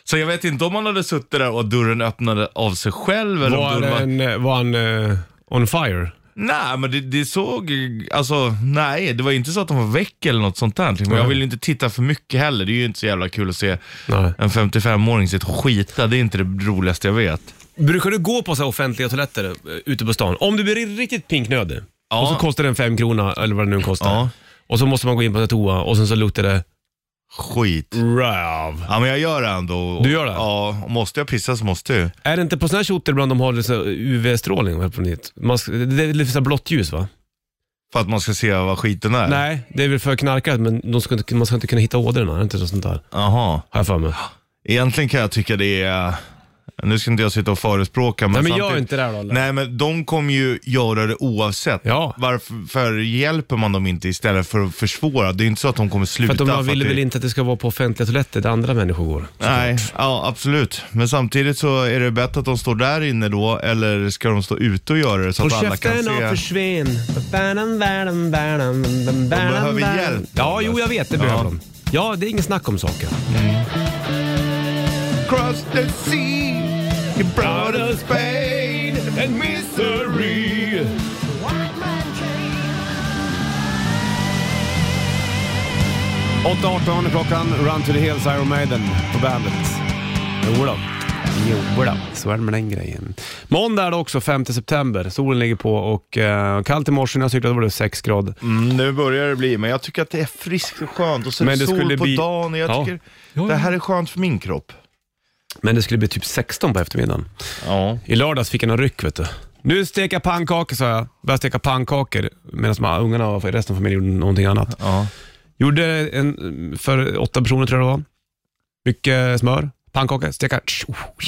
S3: Så jag vet inte om han hade suttit där och dörren öppnade av sig själv. Eller om
S2: Var,
S3: dörren var...
S2: en, eh, var han eh, on fire?
S3: Nej, men det, det såg... Alltså, nej. Det var inte så att de var väck eller något sånt där. Men jag vill ju inte titta för mycket heller. Det är ju inte så jävla kul att se
S2: Nej.
S3: en 55-åring sitta och skita. Det är inte det roligaste jag vet.
S2: Brukar du gå på så här offentliga toaletter eh, ute på stan? Om du blir riktigt pinknödig
S3: Ja.
S2: och så kostar den fem kronor eller vad det nu kostar.
S3: Ja.
S2: Och så måste man gå in på en toa och sen så luktar det
S3: Skit.
S2: röv.
S3: Mm. Ja, men jag gör det ändå.
S2: Du gör det?
S3: Ja, och måste jag pissa så måste jag ju.
S2: Är det inte på såna här tjotter ibland de har lite så här UV-strålning? vad heter det på nytt? Man ska- Det är lite så här blått ljus va?
S3: För att man ska se vad skiten är?
S2: Nej, det är väl för knarkat men de ska inte, man ska inte kunna hitta ådrorna. Är det inte så sånt där?
S3: Jaha.
S2: Har jag för mig.
S3: Egentligen kan jag tycka det är... Nu ska inte jag sitta och förespråka, men
S2: Nej men gör
S3: samtidigt-
S2: inte det här då. Olle.
S3: Nej men de kommer ju göra det oavsett.
S2: Ja.
S3: Varför för hjälper man dem inte istället för att försvåra? Det är inte så att de kommer
S2: För
S3: sluta.
S2: att de
S3: för att
S2: vill
S3: det-
S2: väl inte att det ska vara på offentliga toaletter där andra människor går.
S3: Nej, ja absolut. Men samtidigt så är det bättre att de står där inne då, eller ska de stå ute och göra det så att alla kan se?
S2: försvinn. De
S3: behöver hjälp,
S2: Ja,
S3: Anders.
S2: jo jag vet det behöver
S3: Ja.
S2: de. Ja, det är ingen snack om saken.
S3: Cross the sea, he brought us pain and misery.
S2: är klockan. Run to the hills, Iron Maiden på bandet. Jodå. Jodå. Så är det med den grejen. Måndag är det också, 5 september. Solen ligger på och eh, kallt i morse när jag cyklade var det 6 grader.
S3: Mm, nu börjar det bli, men jag tycker att det är friskt och skönt och så är
S2: Men
S3: det
S2: det
S3: sol
S2: skulle
S3: på
S2: bli-
S3: dagen. och Jag
S2: Ja.
S3: tycker
S2: Ja,
S3: det
S2: ja.
S3: här är skönt för min kropp.
S2: Men det skulle bli typ 16 på eftermiddagen.
S3: Ja.
S2: I lördags fick jag någon ryck vet du. Nu steka pannkakor sa jag. Började steka pannkakor medan de här ungarna och resten av familjen gjorde någonting annat.
S3: Ja.
S2: Gjorde en, för åtta personer tror jag det var. Mycket smör, pannkaka, steka,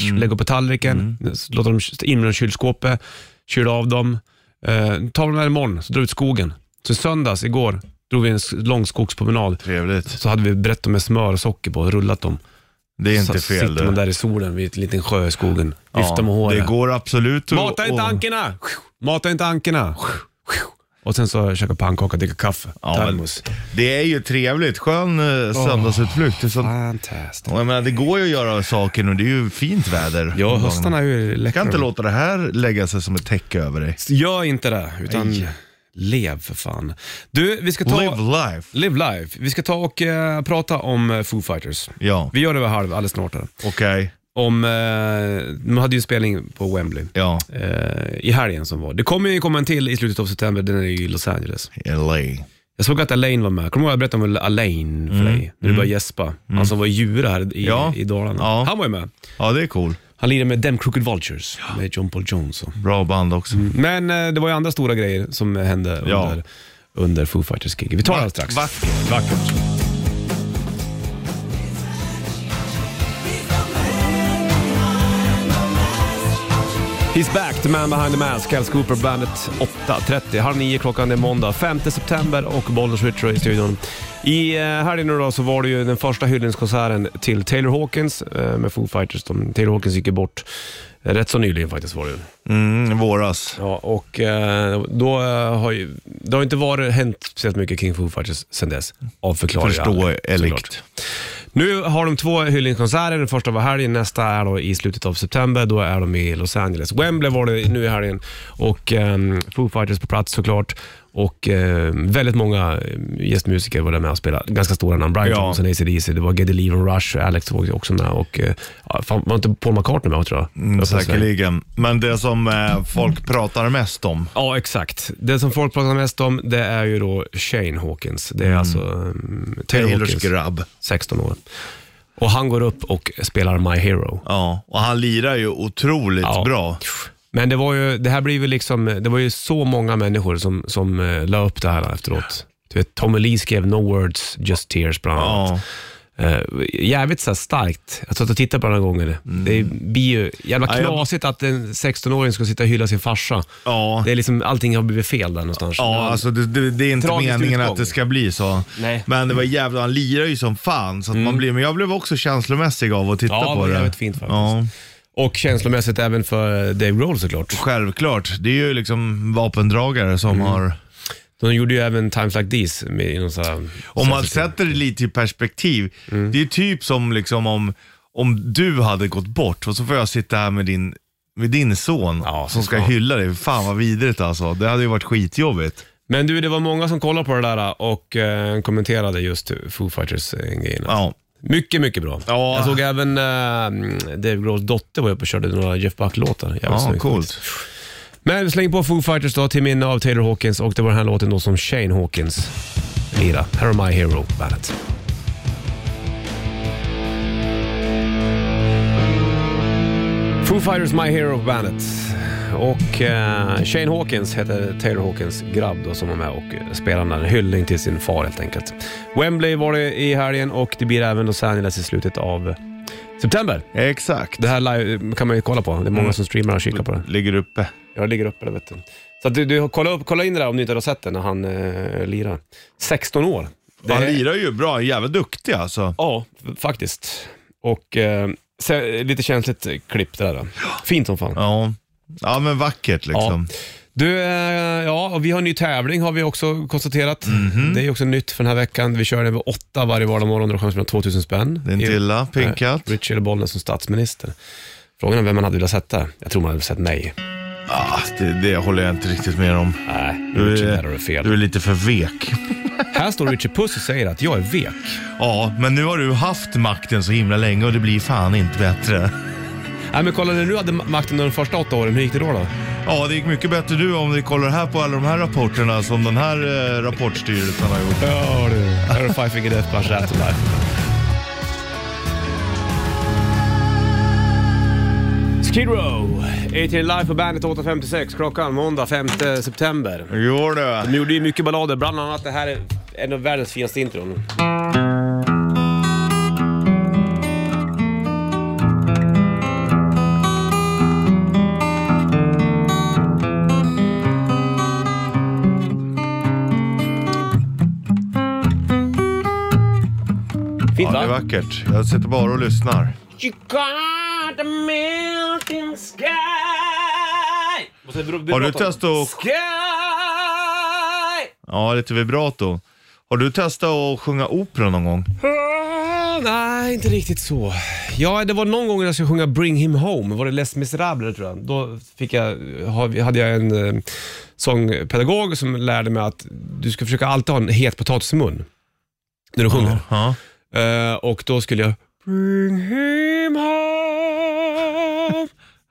S3: Mm.
S2: lägga upp på tallriken, låta dem in med dem i kylskåpet, kyla av dem. Eh, tar vi dem här imorgon, så drar vi ut i skogen. Så i söndags, igår, drog vi en s- lång skogspromenad.
S3: Trevligt.
S2: Så hade vi brett dem med smör och socker på och rullat dem.
S3: Det är inte
S2: så
S3: fel
S2: sitter
S3: det.
S2: man där i solen vid en liten sjö i skogen, viftar med håret.
S3: Det går absolut att...
S2: Mata inte
S3: att-
S2: ankorna! Mata inte ankorna! Och sen så käka pannkaka, dricka kaffe,
S3: Ja, men-
S2: termos.
S3: Det är ju trevligt. Skön eh, söndagsutflykt. Det är så...
S2: Fantastiskt.
S3: Och jag menar, det går ju att göra saker och det är ju fint väder.
S2: Ja,
S3: om
S2: höstarna
S3: dagarna.
S2: är ju
S3: Jag kan inte
S2: läckra.
S3: låta det här lägga sig som ett täcke över dig.
S2: Gör inte det, utan
S3: Nej.
S2: lev för fan. Du, vi ska ta...
S3: Live life.
S2: Live life. Vi ska ta och eh, prata om eh, Foo Fighters.
S3: Ja,
S2: Vi gör det vid halv alldeles snart. Här.
S3: okej.
S2: Om, eh, de hade ju en spelning på Wembley
S3: Ja,
S2: eh, i helgen som var. Det kommer ju komma en till i slutet av september, den är i Los Angeles.
S3: LA.
S2: Jag såg att Alain var med. Kommer du ihåg jag berättade om Alain för dig? När du började gäspa. Han som var i Djura här i,
S3: Mm. Ja.
S2: i Dalarna.
S3: Ja.
S2: Han var ju med.
S3: Ja, det är cool.
S2: Han lirade med Them Crooked Vultures med John Paul Jones. och-
S3: Bra band också.
S2: Men eh, det var ju andra stora grejer som eh, hände
S3: Ja.
S2: under, under Foo fighters gig. Vi tar det alldeles strax.
S3: Vackert.
S2: He's back, the man behind the mask. Alice Cooper, bandet 8.30. Halv nio klockan, det är måndag 5 september och Bollnäs Retro i studion. I eh, helgen nu då så var det ju den första hyllningskonserten till Taylor Hawkins eh, med Foo Fighters. De, Taylor Hawkins gick ju bort eh, rätt så nyligen faktiskt var det ju.
S3: Mm, våras.
S2: Ja, och eh, då eh, har ju, det har inte varit, hänt speciellt mycket kring Foo Fighters sedan dess. Av förklarliga såklart.
S3: Förståeligt.
S2: Nu har de två hyllningskonserter. Den första var helgen, nästa är då i slutet av september. Då är de i Los Angeles. Wembley var det nu i helgen och ehm, Foo Fighters på plats såklart. Och eh, väldigt många eh, gästmusiker var där med och spelade. Ganska stora namn. Brian
S3: Ja.
S2: Johnson, AC/DC, det var Geddy Lee från Rush, Alex var också med och eh, ja, fan, var inte Paul McCartney med tror jag?
S3: Mm,
S2: Öppna Sverige.
S3: säkerligen. Men det som eh, folk pratar mest om.
S2: Ja, exakt. Det som folk pratar mest om, det är ju då Shane Hawkins. Det är alltså um, Taylor
S3: Mm. Taylors
S2: Hawkins,
S3: grabb.
S2: 16 år. Och han går upp och spelar My Hero.
S3: Ja, och han lirar ju otroligt
S2: Ja.
S3: bra.
S2: Men det var ju, det här blir väl liksom, det var ju så många människor som, som eh, la upp det här efteråt. Du vet, Tommy Lee skrev No Words, Just Tears bland annat.
S3: Ja.
S2: Eh, jävligt så här starkt. Jag satt och tittade på den här gången. Det blir ju jävla
S3: Mm. Ja, jag-
S2: knasigt att en 16-åring ska sitta och hylla sin farsa.
S3: Ja.
S2: Det är liksom, allting har blivit fel där någonstans.
S3: Ja, alltså det, det, det är inte
S2: Tragisk
S3: meningen
S2: utgång.
S3: att det ska bli så.
S2: Nej. Mm.
S3: Men det var jävla han lirar ju som fan. Så att man blir, men jag blev också känslomässig av att titta
S2: Ja, det
S3: på
S2: var
S3: det.
S2: jävligt fint faktiskt.
S3: Ja,
S2: Och känslomässigt även för Dave Grohl såklart.
S3: självklart. Det är ju liksom vapendragare som
S2: Mm.
S3: har...
S2: De gjorde ju även Times Like These med i någon sån här...
S3: Om man sätter det lite i perspektiv. Det är typ som liksom om, om du hade gått bort och så får jag sitta här med din, med din son
S2: Ja,
S3: som ska
S2: fan.
S3: hylla dig. Fan vad vidrigt alltså. Det hade ju varit skitjobbigt.
S2: Men du, det var många som kollade på det där och eh, kommenterade just Foo Fighters-grejen.
S3: Ja.
S2: Mycket, mycket bra.
S3: Ja.
S2: Jag såg även eh, Dave Grohls dotter var uppe och körde några Jeff Buck-låtar. Jävligt
S3: Ja,
S2: snyggt
S3: coolt.
S2: faktiskt. Men släng på Foo Fighters då till minne av Taylor Hawkins och det var den här låten då som Shane Hawkins lirade. Här är My Hero på bandet. Foo Fighters My Hero på bandet. Och eh, Shane Hawkins heter Taylor Hawkins grabb då som var med och eh, spelade den. här. En hyllning till sin far helt enkelt. Wembley var det i helgen och det blir även Los Angeles i slutet av september.
S3: Exakt.
S2: Det här live kan man ju kolla på. Det är många som streamar och kikar på det.
S3: Ligger uppe.
S2: Jag ligger uppe där vet du. Så att du, du kolla, upp, kolla in det där om ni inte har sett det när han eh, lirar. 16 år. Det
S3: Han
S2: är-
S3: lirar ju bra. Han är Jävligt duktig alltså.
S2: Ja, f- faktiskt. Och eh, se, lite känsligt eh, klipp det där. då. Fint som fan.
S3: Ja. Ja men vackert liksom.
S2: Du, eh, ja, och vi har en ny tävling har vi också konstaterat.
S3: Mhm.
S2: Det är ju också nytt för den här veckan. Vi kör den vid åtta varje vardagsmorgon och då chansar man 2000 spänn.
S3: Din tilla, pinkat.
S2: Eh, Richard Bollnäs som statsminister. Frågan är vem man hade velat sätta. Jag tror man hade sett nej.
S3: Ah, det, det håller jag inte riktigt med om.
S2: Nej,
S3: Du
S2: Richard, där har du
S3: är,
S2: fel.
S3: du är lite för vek.
S2: Här står Richard Puss och säger att jag är vek.
S3: Ja, men nu har du haft makten så himla länge och det blir fan inte bättre.
S2: Nej men kolla när du hade ma- makten under de första åtta åren, hur gick det då? då?
S3: Ja, det gick mycket bättre du om vi kollar här på alla de här rapporterna som den här eh, rapportstyrelsen har gjort.
S2: Ja du, här har du Five Finger Death Punch Rat Life. Skid Row, 18 Live på bandet 8.56 klockan måndag 5 september.
S3: Jo du.
S2: De gjorde ju mycket ballader, bland annat det här är en av världens finaste intron. Fint
S3: Ja, det är
S2: va?
S3: vackert. Jag sitter bara och lyssnar.
S2: You got a melting sky Och så bro-
S3: Har du
S2: bro-
S3: testat att-
S2: Sky
S3: Ja, lite vibrato. Har du testat att sjunga opera någon gång?
S2: Ah, Nej, inte riktigt så. Ja, det var någon gång när jag skulle sjunga Bring Him Home, var det Les Misérables tror jag. Då fick jag, ha- hade jag en eh, sångpedagog som lärde mig att du ska försöka alltid ha en het potatis i mun när du sjunger.
S3: Ja.
S2: Eh, och då skulle jag Bring him home.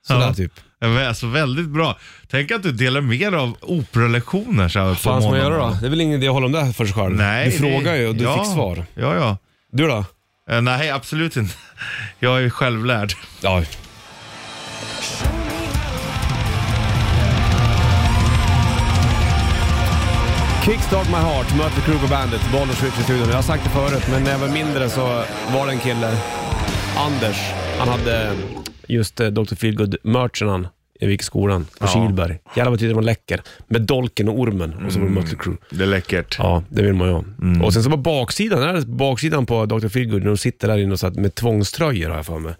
S2: Sådär
S3: Ja.
S2: typ.
S3: Ja, men Alltså väldigt bra. Tänk att du delar mer av operalektioner så här på
S2: Fan ska man göra då?
S3: morgnarna.
S2: Det är väl ingen idé att hålla om det här för sig själv?
S3: Nej,
S2: du
S3: det-
S2: frågar ju och du
S3: ja,
S2: fick svar.
S3: Ja, ja.
S2: Du då?
S3: Eh, Nej, absolut inte. Jag är ju självlärd.
S2: Ja. Kickstart My Heart, Mötley Crüe på bandet, Bollnäs Switch i studion. Jag har sagt det förut, men när jag var mindre så var det en kille, Anders. Han hade just eh, Dr. Feelgood-merchen han. Vi gick i skolan, på Kihlberg. Jävlar vad tydligt man läcker. Med dolken och ormen och så var det Mötley Crüe.
S3: Det är läckert.
S2: Ja, det vill man ju ha. Och sen så var baksidan, där är baksidan på Dr. Feelgood när de sitter där inne och så här med tvångströjor har jag för mig.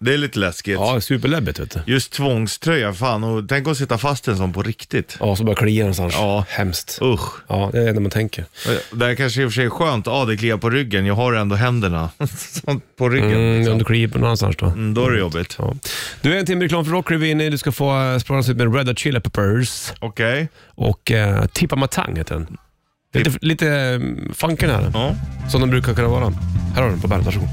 S3: Det är lite läskigt.
S2: Ja, superläbbigt vet du.
S3: Just tvångströja, fan. Och tänk att sitta fast i en sån på riktigt.
S2: Ja, så bara klia någonstans.
S3: Ja.
S2: Hemskt.
S3: Usch.
S2: Ja, det är det man tänker.
S3: Och Det här kanske i och för sig är skönt. Ja, det kliar på ryggen. Jag har ändå händerna Sånt på ryggen.
S2: Mm, om
S3: liksom.
S2: du kliar på någon annanstans då.
S3: Mm, Då är det jobbigt.
S2: Ja. Du, är en timme reklam för Rock Revy inne. Du ska få eh, spåras ut med Red Hot Chili Peppers
S3: Okej.
S2: och eh, Tippa Matang heter den. Lite, lite eh, funky den här,
S3: Ja.
S2: som de brukar kunna vara. Här har du den på bandet, varsågod.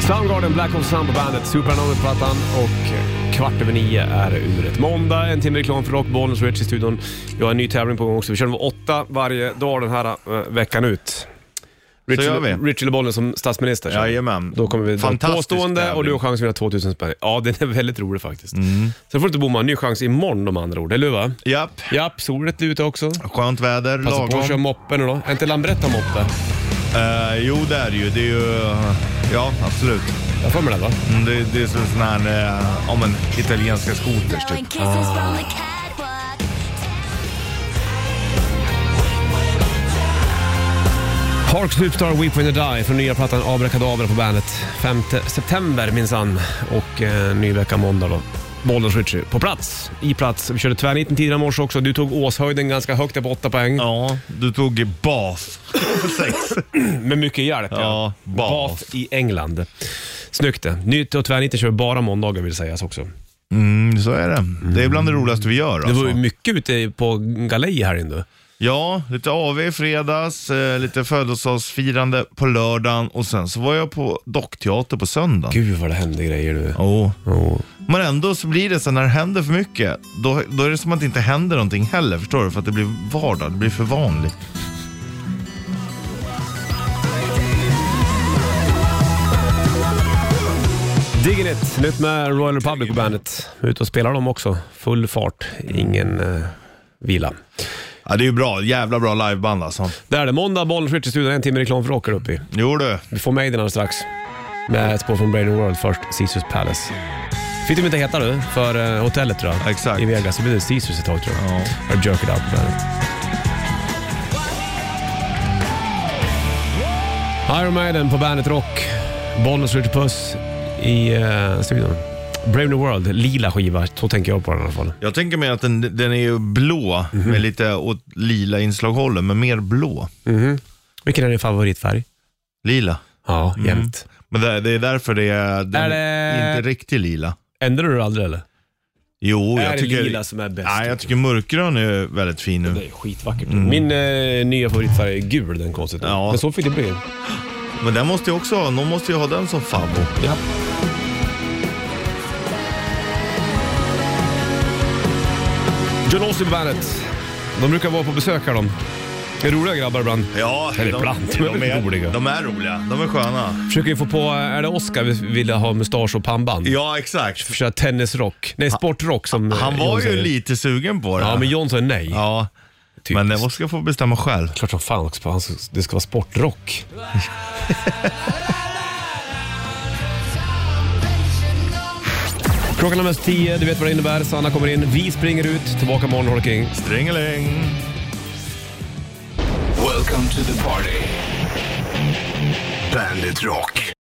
S2: Soundgarden, Black Hole Sun på bandet, Supernovet-plattan och eh, kvart över nio är uret. Måndag, en timme reklam för rock, Bollnäs och Rich i studion. Vi har en ny tävling på gång också. Vi kör den var åtta varje dag den här eh, veckan ut. Rich-
S3: gör vi.
S2: Richard Bollnäs som statsminister. så.
S3: Jajamän.
S2: Då kommer vi dra ett
S3: Fantastisk
S2: påstående och du har
S3: tävling. Mm.
S2: chans att vinna 2000 spänn. Ja, den är väldigt rolig faktiskt. Sen får du inte bomma en ny chans imorgon om andra ord, eller hur va?
S3: Japp.
S2: Japp, solet är ute också.
S3: Skönt väder,
S2: Passa på
S3: lagom.
S2: att köra moppen nu då. Är inte Lambretta moppe?
S3: Eh, jo, det är det ju. Det är ju... eh, Ja, absolut.
S2: Jag får mig det va?
S3: Mm, det, det är som sån här... eh, Ja, men italienska skoters typ.
S2: Park Superstar Weep When You Die från nya plattan Abrakadabra på bandet. 5 september minsann och eh, ny vecka måndag då. Bollnäs Ritchie på plats, i plats. Vi körde tvärniten tidigare i morse också. Du tog Åshöjden ganska högt där på 8 poäng.
S3: Ja, du tog bas. Sex.
S2: Med mycket hjälp
S3: Ja, Bath.
S2: Bath i England. Snyggt det. Nytt och tvärnitten kör vi bara måndagar vill sägas också.
S3: Mm, så är det. Det är bland Mm. det roligaste vi gör.
S2: Det var ju
S3: Alltså.
S2: mycket ute på galej här inne.
S3: Ja, lite AV i fredags, eh, lite födelsedagsfirande på lördagen och sen så var jag på dockteater på söndagen.
S2: Gud vad det hände grejer nu.
S3: Åh.
S2: Ja.
S3: Men ändå så blir det så när det händer för mycket, då, då är det som att det inte händer någonting heller, förstår du? För att det blir vardag, det blir för vanligt.
S2: Digging it. Nytt med Royal Republic på bandet. Ut och spelar dem också. Full fart. Ingen eh, vila.
S3: Ja, det är ju bra. Jävla bra liveband alltså.
S2: Där är det. Måndag, Bollnäs Ritchie studion. En timme reklam för rocker uppe i.
S3: Jo du.
S2: Vi får med den alldeles strax. Med ett spår från Brain World först. Caesars Palace. Fick de inte heta du för eh, hotellet tror jag.
S3: Exakt.
S2: I Vegas. Så blev det Caesars ett tag tror jag.
S3: Ja.
S2: Och Jerk It Out på bandet. Iron Maiden på bandet Rock. Bollnäs Ritchie Puss i eh, studion. Brave New World, lila skiva. Så tänker jag på den i alla fall.
S3: Jag tänker mig att den, den är ju blå, med lite åt lila inslaghållet, men mer blå.
S2: Vilken är din favoritfärg?
S3: Lila.
S2: Ja, jämt.
S3: Men det, det är därför det är, den
S2: Är
S3: är
S2: det-
S3: inte riktigt lila.
S2: Ändrar du aldrig eller?
S3: Jo,
S2: Är
S3: Mm. jag
S2: det
S3: tycker...
S2: lila som är bäst? typ?
S3: Nej, jag tycker mörkgrön är väldigt fin nu.
S2: Det är skitvackert. Min eh, nya favoritfärg är gul, den konstigt.
S3: Mm. Ja.
S2: Men så fick det bli.
S3: Men den måste ju också ha, någon måste ju ha den som favvo.
S2: Ja. John Austin Bandet. De brukar vara på besök här de. Det är roliga grabbar ibland.
S3: Ja,
S2: Eller ibland. De är roliga.
S3: De är roliga. De är sköna.
S2: Försöker ju få på, eh, är det Oscar vi ville ha mustasch och pannband?
S3: Ja, exakt.
S2: Köra tennisrock. Nej, sportrock som eh,
S3: Han
S2: John
S3: var ju
S2: säger.
S3: lite sugen på det.
S2: Ja, men John sa nej.
S3: Ja,
S2: Typiskt.
S3: men det ska få bestämma själv.
S2: Klart som fan också, han ska- det ska vara sportrock. Klockan är mest tio, du vet vad det innebär. Sanna kommer in, vi springer ut, tillbaka imorgon, håller kring.
S3: Stringeling.
S5: Welcome to the party. Bandit Rock.